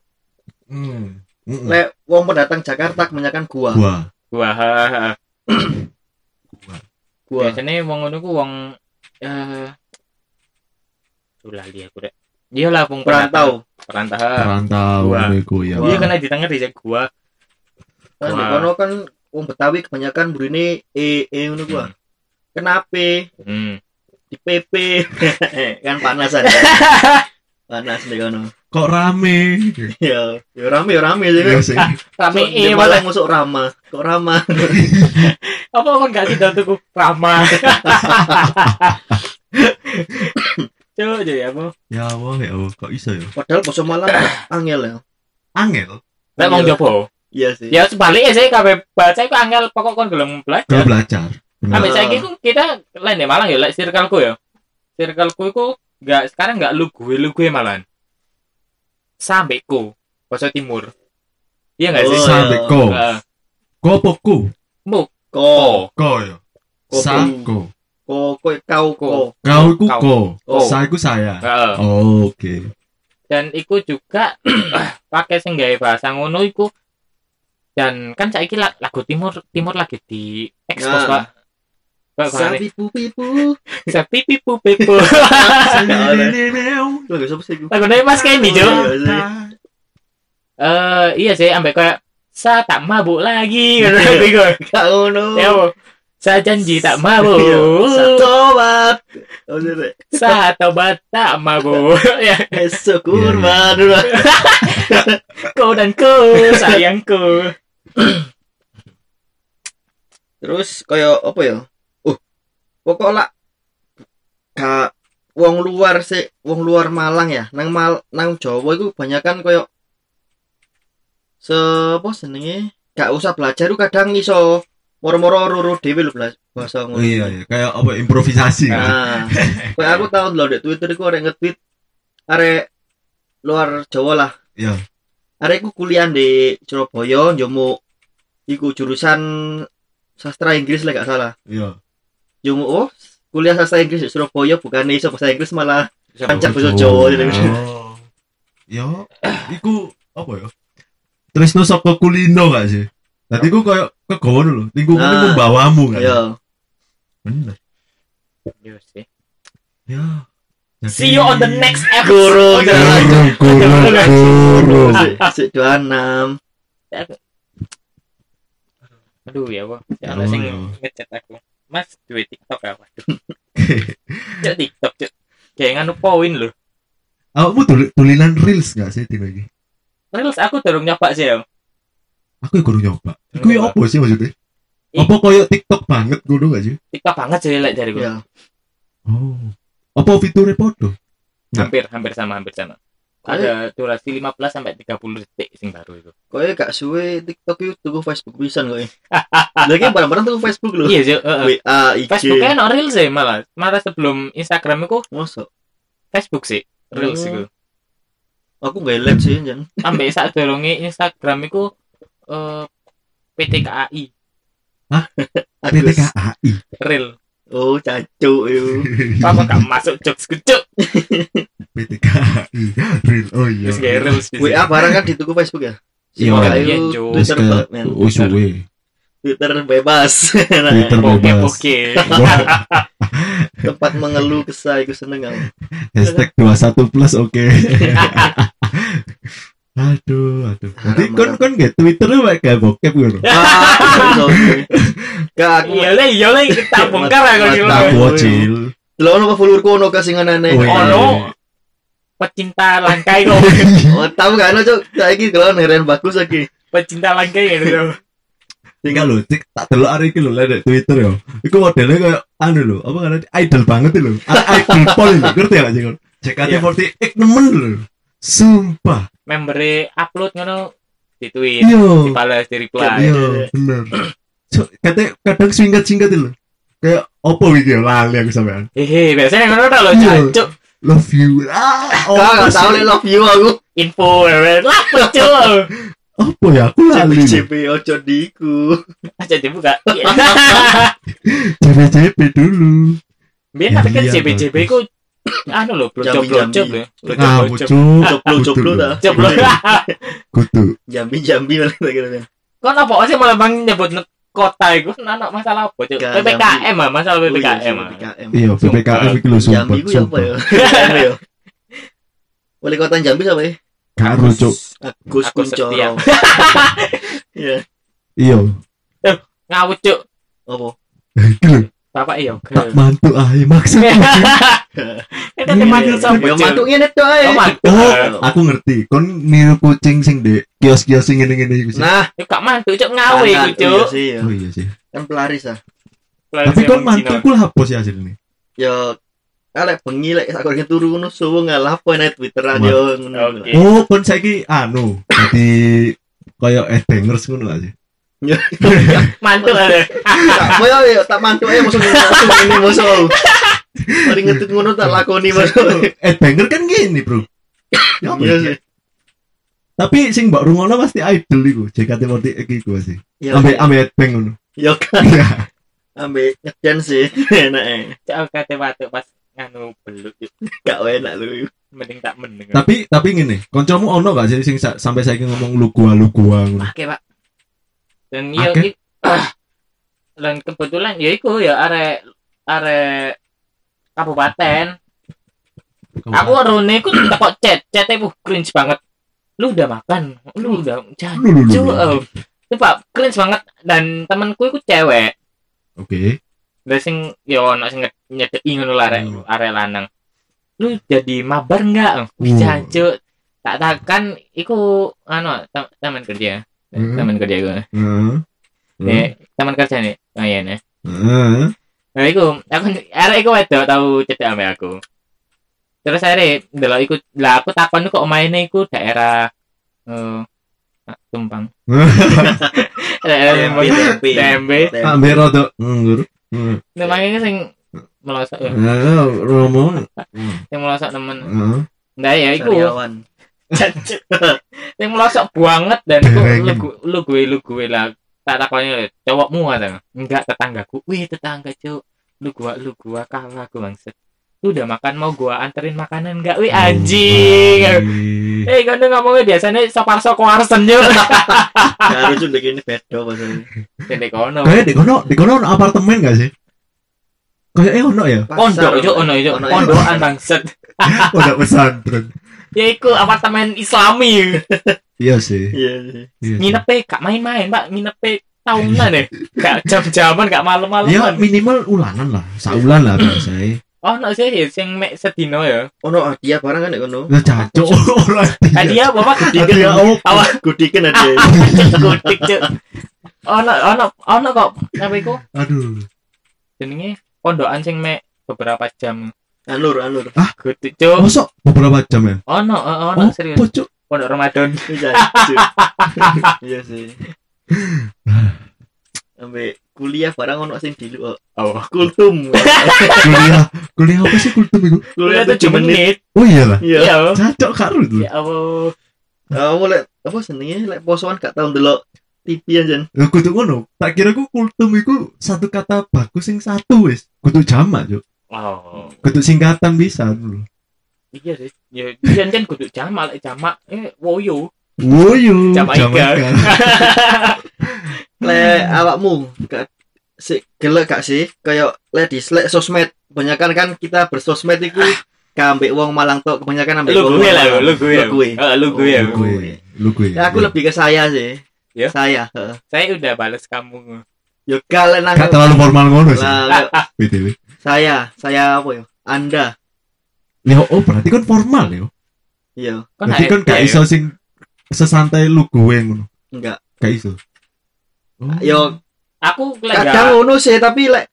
S3: Hmm.
S2: Lek wong pendatang Jakarta kebanyakan gua.
S3: Gua.
S1: Wah. ha, ha, ha.
S2: Gua.
S1: Biasanya wong ngono ku wong eh tuh lali aku rek. Iya lah wong
S2: Perantau.
S1: Perantau.
S3: Perantau
S1: Gua.
S3: iku ya.
S1: Iya kena ditengah di gua.
S2: Kan di
S1: Wah.
S2: kono kan wong Betawi kebanyakan burine e e ngono gua. Kenapa?
S1: Hmm.
S2: Di PP kan panasan. Panas di kono.
S3: Kok rame?
S2: Ya, ya rame ya rame sih.
S3: Iya sih.
S1: Rame
S2: Masuk-
S1: eh
S2: di
S1: malah
S2: Malang masuk Rama. Kok Rama?
S1: apa kon gak tidak tuku Rama. Cuk, jadi apa?
S3: Ya Allah, ya Allah, kok iso ya?
S2: Padahal basa Malang angel ya.
S3: Angel.
S1: Lek wong Jopo.
S2: Iya sih.
S1: Ya sebaliknya sih kabeh baca iku angel pokok kon gelem
S3: Gua
S1: belajar.
S3: belajar. Benar.
S1: Sampai saiki ku kita lain ya Malang ya lek circleku ya. Circleku iku enggak sekarang enggak lu gue lu gue malahan. Sambeku, basa timur. Iya nggak sih?
S2: Oh,
S3: Sa
S2: iya.
S3: ambek ko.
S1: Heeh.
S3: Ko apa ku?
S1: Mu.
S2: Ko.
S1: Oh.
S3: Ko ya.
S2: Ko.
S3: Sa ko.
S2: Ko. Ko. Kau. Ko.
S3: Kau iku
S1: Kau.
S3: ko.
S1: Ko.
S3: Sa iku saya.
S1: Heeh.
S3: Oh, Oke.
S1: dan iku juga pakai sing gawe bahasa ngono iku dan kan saiki la- lagu timur timur lagi di expose
S2: Nah.
S1: pak pak Pak,
S2: Sapi pupi pu.
S1: bisa pipi pu pipu
S2: Lagu siapa sih?
S1: lagu dari mas Kenny
S2: Iya.
S1: jo eh iya sih ambek kayak saya tak mabuk lagi kan
S2: Iya.
S1: iku
S2: Gak ngono.
S1: ya Bu. saya janji tak
S2: Iya.
S1: mabuk
S2: Satobat. Oh, ini, Rek.
S1: saya tobat tak mabuk ya
S2: Esok kurma dulu.
S1: kau dan kau sayangku
S2: Terus kaya apa ya? Uh, pokok lah ka wong luar sih, wong luar Malang ya. Nang Mal nang Jawa iku banyakan kaya sepo senenge gak usah belajar ku kadang iso moro-moro ruru dhewe lho blas- bahasa ngono.
S3: Iya, iya. Kayak apa improvisasi kan?
S2: Nah, kayak aku tau lho di Twitter iku arek nge-tweet arek luar Jawa lah.
S3: Iya.
S2: Arek iku kuliah di Surabaya, njomo iku jurusan sastra Inggris lah gak salah.
S3: Iya.
S2: Jung oh, kuliah sastra Inggris di Surabaya bukan iso bahasa Inggris malah Pancak
S3: Oh,
S2: bahasa Jawa jadi.
S3: Oh. Ya, iku apa ya? Tresno saka kulino gak sih? Dadi iku koyo kegawa lho, lingkungan
S2: Nah.
S3: nah. membawamu kan.
S2: ya
S3: Bener.
S1: Iya sih.
S3: Ya. Jadi-
S1: see you on the next episode ya
S2: guru
S3: Guru, guru, guru.
S2: sik 26
S1: Aduh ya, Bang. Ya ana
S3: Aduh,
S1: sing
S3: ya.
S1: ngechat aku. Mas duwe TikTok ya, waduh. Cuk TikTok, cuk. Kayak nganu poin lho.
S3: Awakmu tul- tulilan reels gak sih tiba iki?
S1: Reels aku durung nyoba sih, ya.
S3: Aku ya guru nyoba. Iku ya
S1: Nyoba.
S3: apa sih maksudnya?
S1: Ih.
S3: Apa koyo TikTok banget ngono gak sih?
S1: TikTok banget sih lek dari
S2: ya
S3: Oh. Apa fiturnya podo? Enggak.
S1: Hampir hampir sama, hampir sama. Ada durasi 15 sampai 30 detik sing baru itu.
S2: kowe gak suwe TikTok itu tuku Facebook pisan kowe lagi barang-barang tuku Facebook lho
S1: Iya, cuk. heeh.
S2: WA IG
S1: Facebook kan no Reels sih malah. Malah sebelum Instagram iku
S2: mosok
S1: Facebook sih. Reels
S2: Hmm.
S1: iku.
S2: aku gak lihat sih jan
S1: Ambek sak durunge Instagram iku eh PTKAI
S2: Agus
S3: PTKAI.
S1: Reel.
S2: oh cacuk yo
S1: Apa gak masuk jokes kecuk?
S3: PTKAI. Reel. Oh iya.
S1: Terus gak Reels di sini.
S2: WA barang kan dituku Facebook ya
S3: Iya.
S2: Sing kayak
S1: Iya,
S2: itu
S1: Jo.
S3: Wis
S2: Twitter
S3: ke
S2: men.
S3: wis suwe.
S2: Twitter bebas Nah,
S3: Twitter
S1: Oke,
S3: bebas.
S1: oke.
S3: Wah,
S2: tempat mengeluh kesah iku seneng kan? aku
S3: Hashtag 21 plus oke. aduh, aduh. Berarti
S2: Haram,
S3: kon
S2: haram.
S3: kon gak Twitter lu kayak bokep gitu.
S2: ah iso, oke. gak aku
S1: Iya le, iya le, kita bongkar ya kalau gitu.
S2: Mantap.
S3: Tak
S2: iya.
S3: bocil.
S2: Delok ono apa followerku ono kasing aneh.
S3: Oh, iya.
S1: Ono pecinta langkai kok,
S2: Oh, tahu gak ono cuk. Saiki delok ngeren bagus lagi.
S1: pecinta langkai gitu.
S3: Tinggal lu cek kan tak delok hari iki lho lek di Twitter yo. Iku modelnya kayak anu lho, apa karena idol banget lho. A- Idol pol lho, ngerti gak sih kon? JKT48 nemen lho. Sumpah.
S1: Membernya upload ngono di tweet,
S3: Yo.
S1: dibalas di reply.
S3: Iya, bener. So, kata kadang singkat-singkat lho. Kayak opo iki yo lali aku sampean.
S1: Hehe, biasanya ngono tak lo
S3: Iya.
S1: cacuk
S3: Love you. Ah,
S2: Kak
S3: apa
S2: gak tahu
S3: sih?
S2: lek love you aku.
S1: info, lah cuk.
S3: Apa ya aku lali.
S2: CP ojo diku.
S1: Aja dibuka.
S3: JBJB dulu.
S1: Biar
S3: Ya,
S1: tapi kan
S3: iya,
S1: JBJB ku anu lo, blocok
S2: Jambi-jambi.
S1: blocok lo, blocok
S3: Ah,
S1: blocok.
S3: bocok.
S2: Joplo joplo ta.
S1: Jeblok.
S3: Kutu.
S2: Jambi jambi malah tak kira.
S1: Kok apa sih malah bang nyebut kota iku? Anak masalah apa, Cuk?
S2: Gak,
S1: PPKM ah, masalah PPKM ah.
S2: PPKM.
S3: Iya, PPKM iki lho sumpah.
S2: Jambi ku ya apa ya? Jambi ya. Wali kota Jambi siapa ya?
S3: Karo cuk.
S2: Agus
S1: Aku setia.
S2: Kuncoro. Iya.
S3: Iya.
S1: Ngawut, Cuk.
S2: Apa?
S3: Iki lho,
S1: Bapak iya.
S3: tak mantuk ae maksud.
S1: Kan tadi manggil sama
S2: Ya
S1: Cuk.
S2: mantuk ngene tok ae.
S1: Oh, mantuk.
S3: Oh, aku ngerti. Kon niru kucing sing di kios-kios sing ngene-ngene iku sih.
S2: Nah,
S1: Ya, gak mantuk, Cuk. Ngawe iku,
S2: tangan. Iya
S1: Cuk.
S2: sih, ya.
S3: Oh iya sih.
S2: Kan pelaris ah.
S3: Tapi kon mantuk ku hapus ya hasilnya.
S2: Yo Alek bengi lek sak korek turu ngono suwu ngalapo nek Twitteran
S3: Mat-
S2: ah, yo ngono.
S1: Oke.
S3: Oh, kon saiki anu dadi koyo headbangers ngono gak sih?
S1: Mantuk ada.
S2: tak koyo ya tak mantuk ae musuh musuh ini musuh. Mari ngetut Iya, ngono tak lakoni musuh.
S3: Headbanger kan gini, Bro. Ya apa
S2: Iya
S3: ya?
S2: sih.
S3: Tapi sing mbak rungono pasti idol iku, JKT48 iku pasti.
S2: Ya,
S3: Ambe ambe headbang ngono.
S2: ya kan
S3: Iya.
S2: ambil ngedan sih enak eh
S1: Cak kate watuk pas nganu belut yuk.
S2: gak enak lu
S1: mending tak
S2: Iya.
S1: mending.
S3: Tapi tapi ngene, kancamu ono gak sih sing sa- sampai saiki ngomong lu gua lu gua ngono.
S1: Oke, Pak. Dan iya
S3: Akeh.
S1: i- dan kebetulan ya iku ya arek arek kabupaten. Aku orone iku tekok chat, chat bu cringe banget. Lu udah makan, lu udah jangan
S3: Lu, lu, lu, lu.
S1: cu- eh. Itu Pak cringe banget dan temanku iku cewek.
S3: Oke.
S1: Lah sing ya ono sing nge- nyedeki ngono lah arek
S3: Hmm.
S1: arek lanang. Lu jadi mabar enggak?
S3: Uh.
S1: Bisa cuk. Tak takkan iku anu tem- teman kerja.
S3: Hmm.
S1: Teman kerja gue.
S3: Heeh. Hmm. Eh.
S1: Nih, teman kerja nih. Oh iya nih.
S3: Heeh.
S1: Nah, iku, aku arek iku wedok tau cedak ame aku. Terus arek ndelok iku, lah aku takon kok omahe iku daerah eh ah, Tumpang. Daerah
S2: Tempe, tempe.
S1: Tempe. Tempe.
S3: Ambe Hmm. rada Hmm. nggur. Heeh.
S1: Nemang iki sing melosok ya,
S3: Heeh, ngomong.
S1: sing melosok temen.
S3: Heeh.
S1: Nah ya iku,
S2: karyawan
S1: sing melosok banget dan iku
S3: Dereng.
S1: lu gu- lu gue lu gue lah tak takoni ya, cowokmu kata enggak tetanggaku wih tetangga cuk lu gua lu gua kalah aku bangset lu udah makan mau gua anterin makanan enggak wih anjing
S3: Anjing.
S1: Eh, kan dia ngomongnya biasanya sopar sokoarsen yo.
S2: gak harus udah gini bedo maksudnya
S1: Jadi kono.
S3: Kayak di kono, di kono ono apartemen gak sih? Kayaknya ono ya?
S1: Pondok yo ono yo
S2: Ono, ya?
S1: pondokan bangset.
S3: Pondok pesantren.
S1: Ya iku apartemen Islami.
S3: Iya sih.
S2: iya iya.
S3: Iya. sih.
S1: Nginepe gak main-main, Pak. Nginepe tahunan ya. Gak jam-jaman, gak
S3: Ya
S1: malam-malaman.
S3: minimal ulanan lah, saulan lah biasanya.
S1: Ono sih ya sing mek sedino ya.
S2: ono hadiah barang kan ono
S3: Nah cacok orang dia.
S1: Hadiah bapak
S3: Tadi
S1: gede
S3: oh
S2: gudikan hadiah
S1: gotik cuk. Ono ono ono kok apa iku
S3: aduh.
S1: jenenge pondokan sing mek beberapa jam
S2: anur anur
S1: gotik cuk.
S3: Mosok beberapa jam ya?
S1: Ono eh, ono
S3: Oh,
S1: serius
S3: pocok.
S1: pondok Ramadan.
S2: Iya, iya sih ambil kuliah barang ono sing dilu oh.
S1: Oh.
S2: kultum
S3: Kuliah, kuliah apa sih kultum itu?
S1: Kuliah 7 menit.
S3: Oh iyalah.
S2: iya
S1: Iya.
S3: Cacok karun tuh.
S1: Ya Allah.
S2: aku lek apa senengnya lek posoan gak tau ndelok TV aja
S3: Lah kudu ngono. Tak kira ku kultum iku satu kata bagus sing satu wis. Kudu jamak, Cuk.
S1: Oh.
S3: Kudu singkatan bisa lho.
S1: Iya sih. Ya jan jan kudu jamak lek jamak eh woyo.
S3: Woyo,
S1: Jamaika.
S2: lek awakmu gak si gelek gak sih kayak lek di lek sosmed kebanyakan kan kita bersosmed iku kambek wong Malang tok kebanyakan ambek wong
S1: gue.
S2: Malang. Lu gue.
S1: Heeh, lu gue.
S2: Oh,
S1: ya.
S3: Lu Iya, gue, lu gue.
S2: Ya, aku lebih ke saya sih
S1: Ya?
S2: saya heeh.
S1: Saya udah balas kamu.
S2: yo kalian nang
S3: Gak terlalu formal ngono sih.
S2: lah, lek
S3: BTW.
S2: saya saya apa ya anda
S3: Lho, oh berarti kan formal ya.
S2: iya
S3: Berarti kan
S1: gak
S3: gak iso
S2: ya.
S3: sing sesantai lu gue ngono.
S2: enggak
S3: Gak iso. Oh.
S2: yo
S1: Aku lek ya,
S2: kadang
S1: gak.
S2: ngono sih tapi lek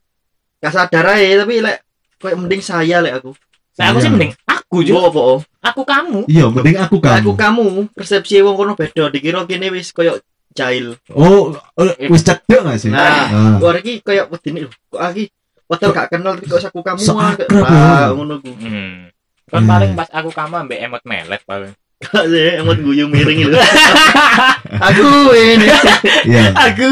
S2: gak sadar aja tapi lek kayak mending saya lek aku
S1: Saya aku sih
S3: Iya.
S1: mending aku
S2: Yo
S1: juga.
S2: apa oh?
S1: Aku kamu.
S3: Iya, mending aku kamu.
S2: aku kamu persepsi wong kono beda dikira kene wis koyo jahil
S3: Oh, eh, wis cedek gak sih?
S2: Nah,
S3: Ah.
S2: luar iki kayak wedine lho. Kok aki padahal ah, gak kenal tapi kok aku kamu
S3: Seakrab,
S2: ah, kayak-
S3: ya.
S2: ah ngono ku.
S1: Hmm. Kan
S3: Hmm.
S1: paling pas aku kamu ambek emot melet paling.
S2: Gak sih, emot guyu miring lho. aku ini.
S3: Iya.
S2: Aku.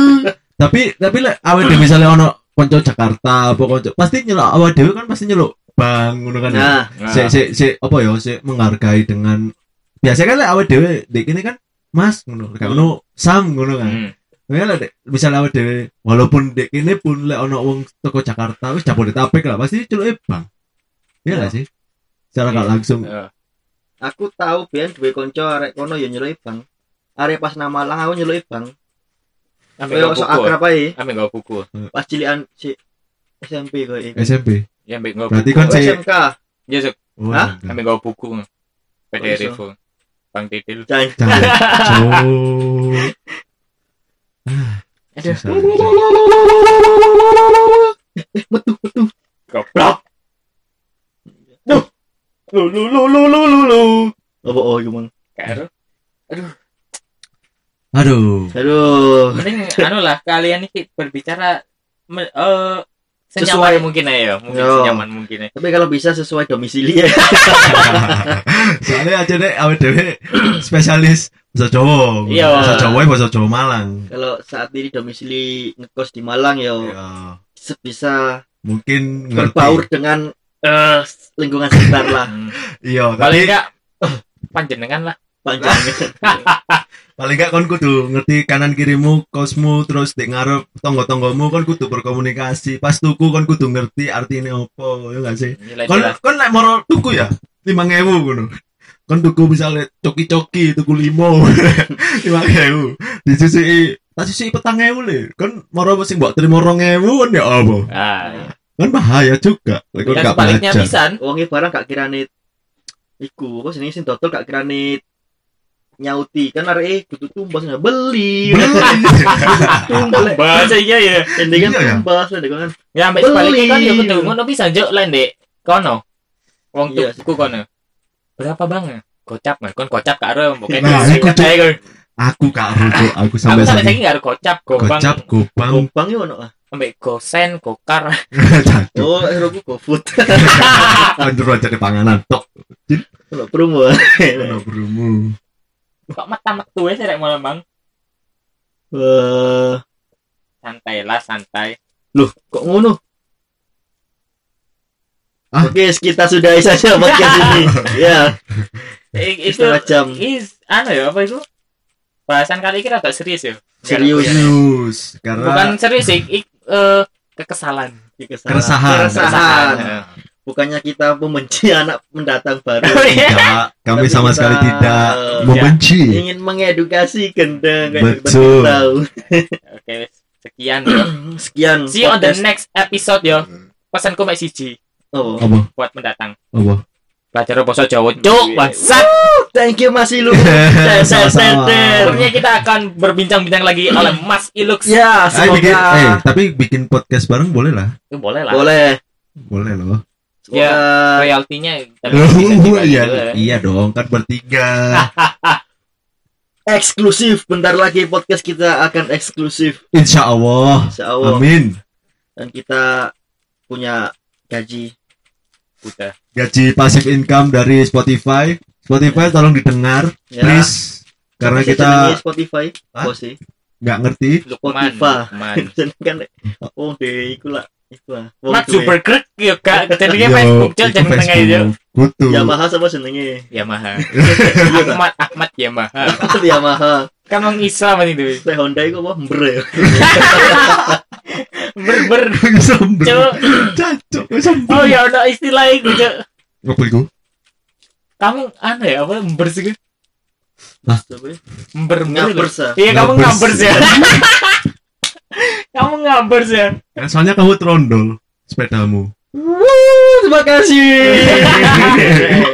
S3: tapi tapi lek awal dhewe misalnya ono konco Jakarta apa konco pasti nyelok awal dhewe kan pasti nyelok bang ngono kan. ya.
S2: Nah,
S1: Nah,
S3: Sik sik sik apa ya sik menghargai dengan biasanya kan lek awal dhewe dek ini kan Mas ngono kan ono Sam ngono kan.
S1: hmm.
S3: Ya lah dek misalnya awal dhewe walaupun dek ini pun lek ono wong toko Jakarta wis Jabodetabek lah pasti celuke bang. Iya lah sih. Secara gak langsung.
S1: Eh,
S2: aku tahu biyen duwe kanca arek kono ya nyeloki Bang. Arek pas nama lang aku nyeloki Bang.
S1: Ambek
S2: Kayak
S1: gak
S2: sok
S1: kuku.
S2: akrab ae.
S1: Ambek gak kuku.
S2: Pas cilikan si SMP kok iki.
S3: SMP.
S1: Ya ambek gak
S3: Berarti
S1: kuku.
S3: kan si
S2: SMK.
S1: Ya sok
S3: Oh,
S2: Hah?
S3: enggak.
S1: ambek gak kuku.
S2: Kok
S1: Pede
S2: iso?
S1: Revo. Bang Titil.
S2: Jan.
S3: Jangan. Cuk.
S1: Aduh.
S3: Susah, Cuk.
S2: Metu metu.
S1: Goblok. Duh. Lu lu lu lu lu lu lu.
S2: Apa oh iku mang.
S1: Karo.
S3: Aduh.
S2: Aduh.
S1: Mending anu lah kalian ini berbicara me, eh,
S2: Sesuai.
S1: senyaman mungkin aja ya, mungkin
S2: Yo.
S1: senyaman mungkin ya. aja.
S2: Tapi kalau bisa sesuai domisili ya.
S3: soalnya aja deh awet dewe spesialis Bahasa Jawa.
S1: Iya.
S3: Bahasa Jawa bahasa Jawa Malang.
S2: Kalau saat ini domisili ngekos di Malang ya
S3: Ya,
S2: bisa
S3: mungkin ngerti.
S2: berbaur dengan eh, lingkungan sekitar lah.
S1: Hmm.
S3: Iya,
S1: Paling
S3: tapi
S1: enggak eh, panjenengan lah.
S2: Panjang.
S3: paling gak kon kudu ngerti kanan kirimu kosmu terus di ngarep tonggo-tonggomu kon kudu berkomunikasi pas tuku kon kudu ngerti artinya opo ya gak sih
S1: Nilai
S3: kon
S1: jelas.
S3: kon lek moro tuku ya lima ngewu ngono kon tuku misalnya coki-coki tuku limo lima ngewu di sisi tak sisi petang ngewu le kon moro sing mbok terima rong ngewu kon ya opo
S1: Ah,
S3: kan bahaya juga lek kon
S1: yang
S3: gak
S1: sebaliknya
S3: belajar
S1: pisan.
S2: Wonge barang gak kirane iku, kok sini sing dodol gak kirane nyauti kan arek kudu tumbas nggak beli
S1: Iya.
S2: tumbas lek.
S1: Bahasa iya ya.
S2: Endingan
S3: Iya, ya?
S2: tumbas lek kan
S1: Ya ambek
S2: Beli.
S1: sebaliknya kan ya kudu ngono pisan juk lain Dek. Kono. Wong
S2: Iya
S1: tuku kono. Berapa Bang? Kocap nggak? Kon kocap karo mbok kene.
S3: Nah, ini kudu-
S1: Saya kon-
S3: aku gak rujuk aku
S1: Aku
S3: sampai
S1: sampai
S3: saiki
S1: saiki nggak ada kocap, gobang,
S3: gocap gopang
S2: gombang yo ono ah
S1: ambek gosen, gokar.
S3: Aduh,
S2: oh eroku gofood
S3: anjur aja di panganan tok
S2: ono ah. promo
S1: Iya.
S3: ono brumu
S1: Kok mata metu ya rek malam Bang.
S2: eh
S1: Santai lah, santai.
S2: loh kok ngono
S3: Ah.
S2: Oke, kita sudahi saja podcast ini. Ya,
S1: I- Itu
S2: setengah jam.
S1: is anu ya apa itu? Bahasan kali ini agak serius ya.
S2: Serius.
S3: serius
S1: Bukan
S3: karena
S1: serius sih, ik- eh, kekesalan. ya.
S2: Keresahan.
S3: keresahan
S1: Keresahan.
S2: Bukannya kita membenci anak mendatang baru.
S3: tidak
S2: Tapi
S3: kami sama
S2: kita-
S3: sekali tidak
S1: Iya.
S3: membenci
S2: ingin mengedukasi gendeng
S3: Betul.
S2: tahu
S1: Oke, wis. sekian. yo.
S2: sekian
S1: See you on the
S2: podcast.
S1: next episode yo. Pesanku mek siji
S2: oh.
S3: apa
S1: buat mendatang.
S3: apa
S1: Belajar bahasa Jawa, cuk, bangsat.
S2: thank you Mas Ilu
S3: Sama-sama.
S1: Selanjutnya kita akan berbincang-bincang lagi oleh Mas Ilux.
S2: ya
S3: Eh, bikin, eh,
S2: semoga
S3: tapi bikin podcast bareng boleh lah
S1: Eh, boleh lah.
S2: boleh
S3: boleh loh
S1: Ya.
S2: semoga
S1: Royaltinya tapi bisa dibagi dulu
S3: iya
S1: ya.
S3: iya dong kan bertiga
S2: eksklusif bentar lagi podcast kita akan eksklusif
S3: insya Allah
S2: insya Allah
S3: amin
S2: dan kita punya gaji
S1: Udah.
S3: gaji pasif income dari Spotify Spotify tolong didengar
S2: ya
S3: please karena
S2: Apa sih
S3: kita
S2: jenengnya Spotify
S3: Hah?
S2: oh sih
S3: nggak ngerti
S1: Lukman,
S2: Spotify.
S1: Lukman.
S2: Jeneng kan oh deh iku lah iku lah Wong
S1: Mat
S2: duwe.
S1: Zuckerberg ya kak,
S3: Yo,
S1: jadinya Facebook
S3: itu
S1: cok jangan tengah Ya, aja.
S3: Facebook kutu
S2: Yamaha sama jenenge
S1: Yamaha.
S2: Iya, tak?
S1: Ahmad Ahmad Yamaha.
S2: Yamaha
S1: Kan orang Islam itu.
S2: Lek Honda iku apa mbre
S1: Berber
S3: Sambel.
S1: cok.
S3: Cacok, sambel.
S1: Oh ya ada istilah itu cok.
S3: Apa itu?
S1: Kamu aneh ya apa ember sih?
S2: Coba ya.
S1: Ember ember.
S2: ngabers ah.
S1: Iya kamu
S3: Ngabers.
S1: ngabers ya. kamu ngabers ya.
S3: Ya, soalnya kamu trondol sepedamu.
S2: Wuh, terima kasih.